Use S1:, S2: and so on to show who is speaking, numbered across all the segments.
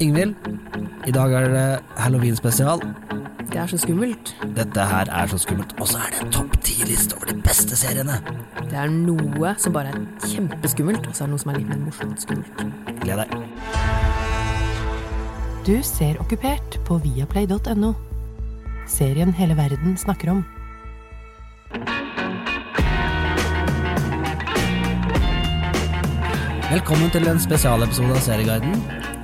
S1: Ingvild, i dag er det halloween-spesial.
S2: Det er så skummelt.
S1: Dette her er så skummelt. Og så er det en topp ti-liste over de beste seriene.
S2: Det er noe som bare er kjempeskummelt, og så er det noe som er litt mer morsomt skummelt.
S1: Gled deg.
S3: Du ser Okkupert på viaplay.no. Serien hele verden snakker om.
S1: Velkommen til en spesialepisode av Serieguiden.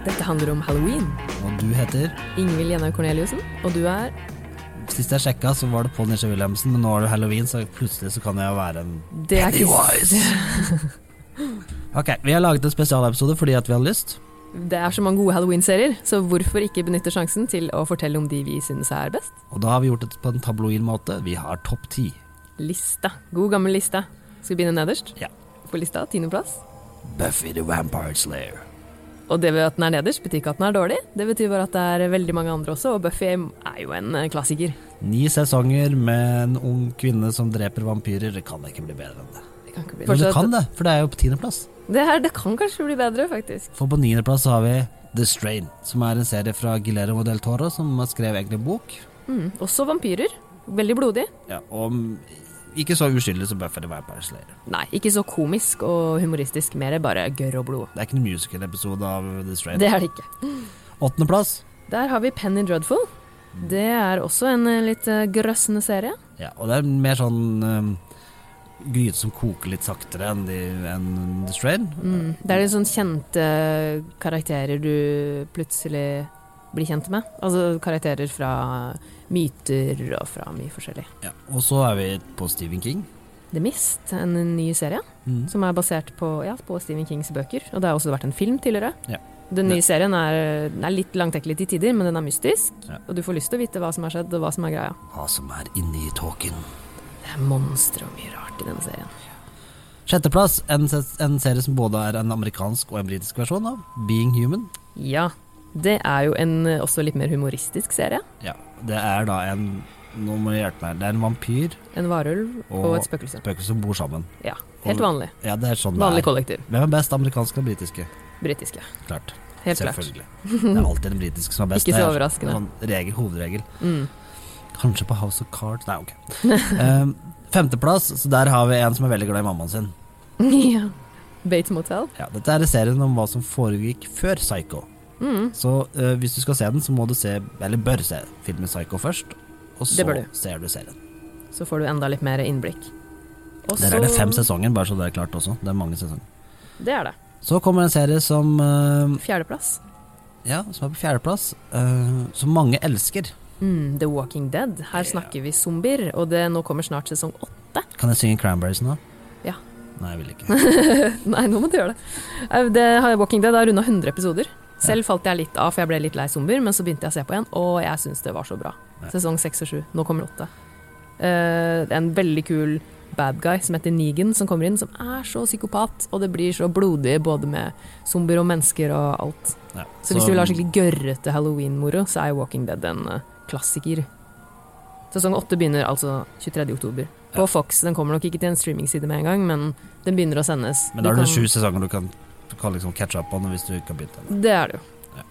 S2: Dette handler om halloween.
S1: Og du heter
S2: Ingvild Jenna Corneliussen, og du er
S1: Sist jeg sjekka, så var det Paul Nisje Wilhelmsen, men nå er det halloween, så plutselig så kan jeg jo være en
S2: Det er
S1: Pennywise. Ok, vi har laget en spesialepisode fordi at vi hadde lyst.
S2: Det er så mange gode halloween-serier, så hvorfor ikke benytte sjansen til å fortelle om de vi synes er best?
S1: Og da har vi gjort det på en tabloid måte. Vi har topp ti.
S2: Lista. God gammel lista. Skal vi begynne nederst?
S1: Ja.
S2: På lista, tiendeplass.
S1: Buffy the Vampire Slayer.
S2: Og det ved at den er nederst, betyr ikke at den er dårlig. Det betyr bare at det er veldig mange andre også, og Buffy er jo en eh, klassiker.
S1: Ni sesonger med en ung kvinne som dreper vampyrer. Det kan ikke bli bedre enn det.
S2: Det kan ikke bli
S1: Men det
S2: Fortsatt-
S1: kan det, for det er jo på tiendeplass.
S2: Det, her, det kan kanskje bli bedre, faktisk.
S1: For på niendeplass så har vi The Strain, som er en serie fra Guillermo del Toro, som har skrevet egentlig en bok.
S2: Mm. Også vampyrer. Veldig blodig.
S1: Ja, og mm, ikke så uskyldig som Buffy the Vampire Slayer.
S2: Nei, ikke så komisk og humoristisk, mer bare gørr og blod.
S1: Det er ikke noen musical-episode av The Strain.
S2: Det er det ikke.
S1: Åttendeplass
S2: Der har vi Penny Dreadful. Det er også en eh, litt eh, grøssende serie.
S1: Ja, og det er mer sånn um, gryte som koker litt saktere enn de, enn The Strain.
S2: Mm. Det er litt sånn kjente eh, karakterer du plutselig blir kjent med. Altså karakterer fra myter og fra mye forskjellig.
S1: Ja, og så er vi på Stephen King.
S2: The Mist, en ny serie
S1: Mm.
S2: som er basert på, ja, på Stephen Kings bøker. Og det har også vært en film tidligere.
S1: Ja.
S2: Den nye serien er, den er litt langtekkelig til tider, men den er mystisk.
S1: Ja.
S2: Og du får lyst til å vite hva som har skjedd, og hva som er greia.
S1: Hva som er inni tåken.
S2: Det er monstre og mye rart i denne serien.
S1: Sjetteplass, en, ses- en serie som både er en amerikansk og en britisk versjon av Being Human.
S2: Ja. Det er jo en eh, også litt mer humoristisk serie.
S1: Ja, det er da en Nå må du hjelpe meg. Det er en vampyr
S2: En varulv og,
S1: Og-
S2: et spøkelse.
S1: spøkelse som bor sammen.
S2: Ja. Helt vanlig.
S1: Ja, det er sånn det
S2: Vanlig
S1: er.
S2: kollektiv.
S1: Hvem er best, amerikanske eller britiske?
S2: Britiske.
S1: Klart.
S2: Helt klart. Mhm.
S1: Selvfølgelig. Det er alltid den britiske som er best.
S2: Ikke
S1: Det
S2: så
S1: er
S2: overraskende.
S1: Sånn regel, hovedregel.
S2: Mm.
S1: Kanskje på House of Cards Nei, ok. Ehm, femteplass, så der har vi en som er veldig glad i mammaen sin.
S2: ja. Bates Motel.
S1: Ja, dette er serien om hva som foregikk før Psycho.
S2: Mm.
S1: Så eh, hvis du skal se den, så må du se, eller bør se, filmen Psycho først. Og så
S2: Det bør du.
S1: ser du serien.
S2: Så får du enda litt mer innblikk. Og
S1: Der er det
S2: så-
S1: fem sesonger, bare så det er klart også. Det er mange sesonger.
S2: Det er det.
S1: Så kommer en serie som, eh,
S2: Fjerdeplass.
S1: ja, som er på fjerdeplass, eh, som mange elsker.
S2: Mm, The Walking Dead. Her snakker vi zombier, og det nå kommer snart sesong åtte.
S1: Kan jeg synge Cranberries nå?
S2: Ja.
S1: Nei, jeg vil ikke.
S2: Nei, nå må du gjøre det. Eh, det har- Walking Dead har runda 100 episoder. Selv falt jeg litt av, for jeg ble litt lei zombier, men så begynte jeg å se på igjen, og jeg syns det var så bra.
S1: Ja.
S2: Sesong seks og sju. Nå kommer åtte. Eh, det er en veldig kul bad guy som heter Negan, som kommer inn, som er så psykopat, og det blir så blodig både med zombier og mennesker og alt.
S1: Ja.
S2: Så hvis du vil ha skikkelig gørrete halloween-moro, så er Walking Dead en eh, klassiker. Sesong åtte begynner altså 23. oktober. På
S1: Ja.
S2: Fox. Den kommer nok ikke til en streamingside med en gang, men den begynner å sendes.
S1: Men da
S2: Du
S1: er det
S2: kan-
S1: sju sesonger du kan, du kan liksom catche up på nå hvis du ikke har begynt ennå.
S2: Det er det jo.
S1: Ja.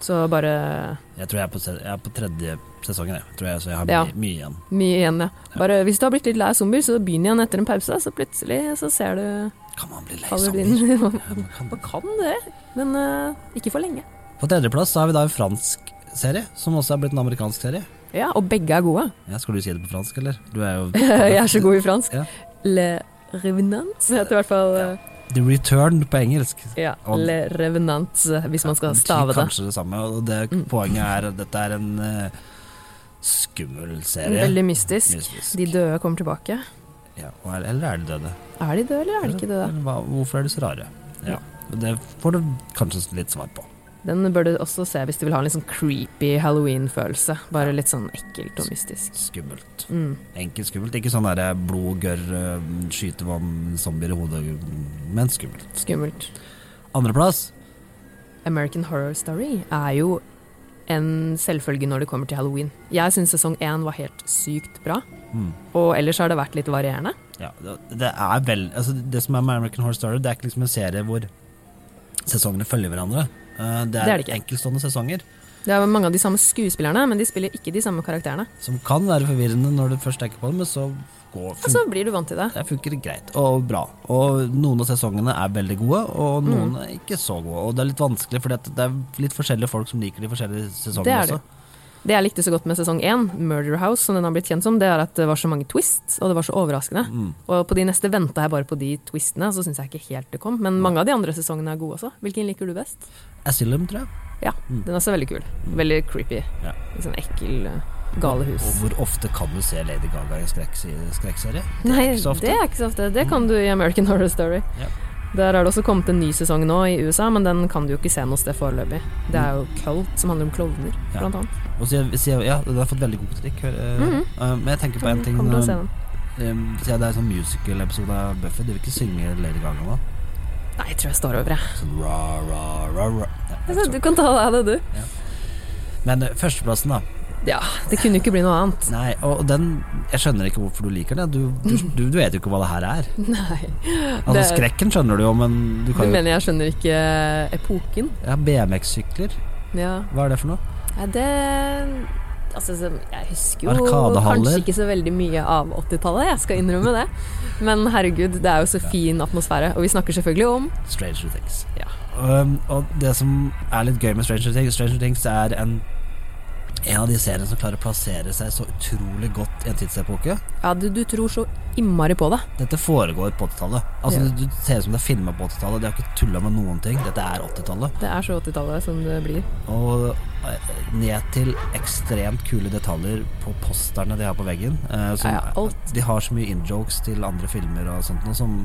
S2: Så bare
S1: Jeg tror jeg er på, se- jeg er på tredje sesongen, jeg. Tror jeg, så jeg har
S2: Ja.
S1: mye, mye igjen.
S2: mye igjen, ja. Bare hvis du har blitt litt lei av zombier, så begynn igjen etter en pause, så plutselig så ser du
S1: Kan man bli lei
S2: faller du
S1: zombier?
S2: inn.
S1: Ja, man kan.
S2: Man kan det, men eh, ikke for lenge.
S1: På tredjeplass så har vi da en fransk serie, som også er blitt en amerikansk serie.
S2: Ja, og begge er gode.
S1: Ja, skal du si det på fransk, eller? Du er jo
S2: Jeg er så god i fransk.
S1: Ja.
S2: Le Revenant heter i hvert fall eh,
S1: The Return på engelsk.
S2: ja,
S1: Og-
S2: Le Revenant, eh, hvis man skal
S1: betyr
S2: stave det.
S1: Kanskje det samme, og det,
S2: Mm.
S1: poenget er at dette er en eh, skummel serie.
S2: Veldig mystisk.
S1: Mystisk.
S2: De døde kommer tilbake.
S1: Ja, og er- eller er de døde?
S2: Er de døde, eller er de ikke døde?
S1: Eller hva, hvorfor er de så rare? Ja. og Det får du kanskje litt svar på.
S2: Den bør du også se hvis du vil ha en litt sånn creepy halloween-følelse. Bare litt sånn ekkelt og mystisk.
S1: Skummelt.
S2: Mm.
S1: Enkelt skummelt. Ikke sånn derre blod, gørr, øh, skyte vann, zombier i hodet, men skummelt.
S2: Skummelt.
S1: Andreplass,
S2: American Horror Story er jo en selvfølge når det kommer til halloween. Jeg syns sesong én var helt sykt bra,
S1: mm.
S2: og ellers har det vært litt varierende.
S1: ja, det- det er vel altså, Det som er med American Horror Story, det er ikke liksom en serie hvor sesongene følger hverandre. Eh, Det
S2: Det
S1: er,
S2: er det ikke.
S1: enkeltstående sesonger,
S2: Det er mange av de samme skuespillerne, men de spiller ikke de samme karakterene.
S1: som kan være forvirrende når du først tenker på det, men så går
S2: Og så Altså, blir du vant til det.
S1: Det funker greit og bra. Og noen av sesongene er veldig gode, og
S2: Mm.
S1: noen er ikke så gode. Og det er litt vanskelig, for det er litt forskjellige folk som liker de forskjellige
S2: Det
S1: sesongene
S2: er det.
S1: også.
S2: Det jeg likte så godt med sesong én, Murder House, som den har blitt kjent som, det er at det var så mange twists, og det var så overraskende.
S1: Mm.
S2: Og på de neste venta jeg bare på de twistene, så syns jeg ikke helt det kom. Men mange av de andre sesongene er gode også. Hvilken liker du best?
S1: Asylum, tror jeg.
S2: Ja,
S1: Mm.
S2: den er også veldig kul. Veldig creepy.
S1: Ja.
S2: Litt sånn ekkel eh, galehus.
S1: Og hvor ofte kan du se Lady Gaga i en skrekk- skrekkserie?
S2: Nei,
S1: ikke så ofte.
S2: det er ikke så ofte. Det kan du i American Horror Story.
S1: Ja.
S2: Der har det også kommet en ny sesong nå i USA, men den kan du jo ikke se noe sted foreløpig. Det er jo Cult, som handler om klovner,
S1: Mm. Ja.
S2: blant annet.
S1: Og så sier sier- ja, den har fått veldig god kritikk. hører- eh,
S2: Mhm.
S1: eh, Men jeg tenker på en ting
S2: Kommer til å se
S1: eh,
S2: den.
S1: eh, siden Det er en sånn musical-episode av Buffy. Du vil ikke synge Lady Gaga nå?
S2: Nei, jeg tror jeg står over, jeg.
S1: Sånn ra, ra, ra, ra. Ja, jeg vet
S2: Du
S1: ikke.
S2: kan ta deg av det, du.
S1: Men eh, førsteplassen, da.
S2: Ja, det kunne jo ikke bli noe annet.
S1: Nei, og den Jeg skjønner ikke hvorfor du liker den. Du, du, du, du vet jo ikke hva det her er.
S2: Nei.
S1: Altså
S2: Det-
S1: Skrekken skjønner du jo, men du
S2: Du
S1: kan jo
S2: mener jeg skjønner ikke epoken?
S1: ja, BMX-sykler,
S2: Ja.
S1: hva er det for noe?
S2: Nei, det Altså, så- jeg husker jo
S1: Arkadehaller.
S2: kanskje ikke så veldig mye av 80-tallet, jeg skal innrømme det. Men herregud, det er jo så fin atmosfære. Og vi snakker selvfølgelig om
S1: Stranger Things.
S2: Ja.
S1: Um, og det som er litt gøy med Stranger Things Stranger Things er en, en av de seriene som klarer å plassere seg så utrolig godt i en tidsepoke.
S2: Ja, du, du tror så innmari på det.
S1: Dette foregår på 80-tallet. Altså,
S2: Ja.
S1: det, det ser ut som det er filma på 80-tallet. De har ikke tulla med noen ting. Dette er 80-tallet.
S2: Det er så 80-tallet som det blir.
S1: Og eh, ned til ekstremt kule detaljer på posterne de har på veggen. eh, som-
S2: Ja, ja, alt.
S1: De har så mye in-jokes til andre filmer og sånt noe som,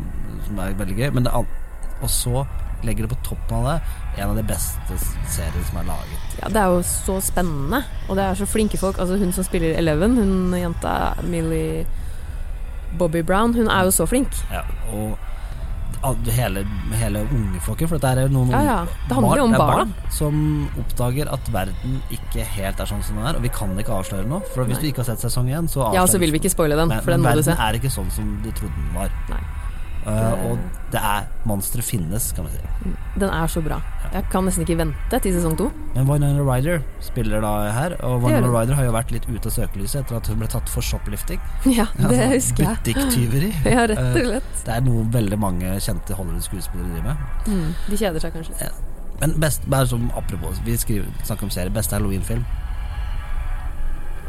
S1: som er veldig gøy. Men det, an- og så legger det på toppen av det en av de beste s- seriene som er laget.
S2: Ja, det er jo så spennende, og det er så flinke folk. Altså Hun som spiller Eleven, hun jenta Millie Bobby Brown, hun er jo så flink.
S1: Ja, og al- hele, hele ungeflokken, for dette er jo noen
S2: Ja, ja. Det handler jo om
S1: det er
S2: barna.
S1: som oppdager at verden ikke helt er sånn som den er, og vi kan ikke avsløre noe. For hvis
S2: Nei.
S1: du ikke har sett sesong én, så
S2: Ja, og så
S1: avslører
S2: vil vi ikke spoile den,
S1: Nei,
S2: for den må
S1: verden
S2: du se.
S1: er ikke sånn som de trodde den var.
S2: Nei.
S1: Eh, og det er Monstre finnes, kan vi si.
S2: Den er så bra. Jeg kan nesten ikke vente til sesong to.
S1: Men Winona Ryder spiller da her, og
S2: Det gjør
S1: Winona
S2: hun.
S1: Ryder har jo vært litt ute av søkelyset etter at hun ble tatt for shoplifting.
S2: Ja, det
S1: Altså,
S2: husker jeg.
S1: Butikktyveri.
S2: Ja, rett og
S1: Eh,
S2: slett.
S1: Det er noe veldig mange kjente Hollywood-skuespillere driver med.
S2: Mm, de kjeder seg kanskje.
S1: Men best, bare som apropos, vi skriver, snakker om serie, beste Halloween-film.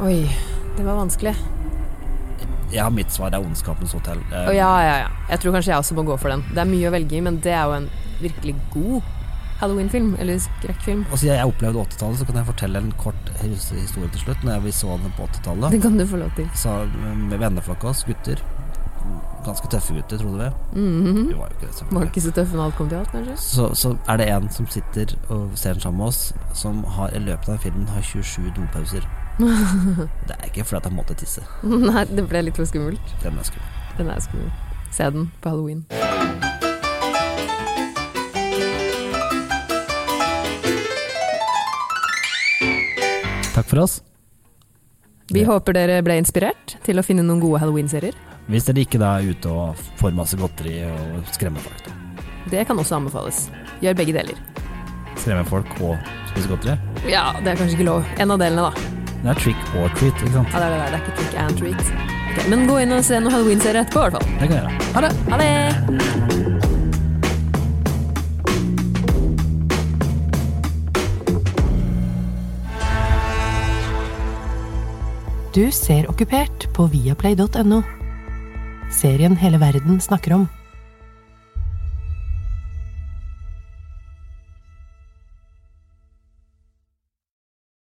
S2: Oi, det var vanskelig.
S1: Ja, mitt svar er 'Ondskapens hotell'. Eh,
S2: Å, ja, ja, ja. Jeg tror kanskje jeg også må gå for den. Det er mye å velge i, men det er jo en virkelig god Halloween-film, eller skrekkfilm.
S1: Og siden jeg opplevde 80-tallet, så kan jeg fortelle en kort his- historie til slutt. Når vi så den på 80-tallet.
S2: Det kan du få lov til.
S1: sa med venneflokka oss, gutter. Ganske tøffe gutter, trodde vi.
S2: Mhm.
S1: Vi var jo ikke det.
S2: Var det
S1: selvfølgelig.
S2: ikke så tøff når alt kom til alt, kanskje?
S1: Så, så er det en som sitter og ser den sammen med oss, som har, i løpet av filmen har 27 dopauser. Det er ikke fordi han måtte tisse.
S2: Nei, det ble litt for skummelt.
S1: Den er skummel.
S2: Den er skummel. Se den på halloween.
S1: Takk for oss.
S2: Vi
S1: Ja.
S2: håper dere ble inspirert til å finne noen gode halloween-serier.
S1: Hvis dere ikke da er ute og får masse godteri og skremmer folk.
S2: Det kan også anbefales. Gjør begge deler.
S1: Skremmer folk og spiser godteri.
S2: Ja, det er kanskje ikke lov. En av delene, da.
S1: Det er trick or treat, ikke sant.
S2: Ja, det er det der. Det er ikke trick and treat. Ok, men gå inn og se noen halloween-serier etterpå, i hvert fall.
S1: Det kan jeg gjøre.
S2: Ha det! Ha det!
S3: Du ser okkupert på viaplay.no. Serien hele verden snakker om.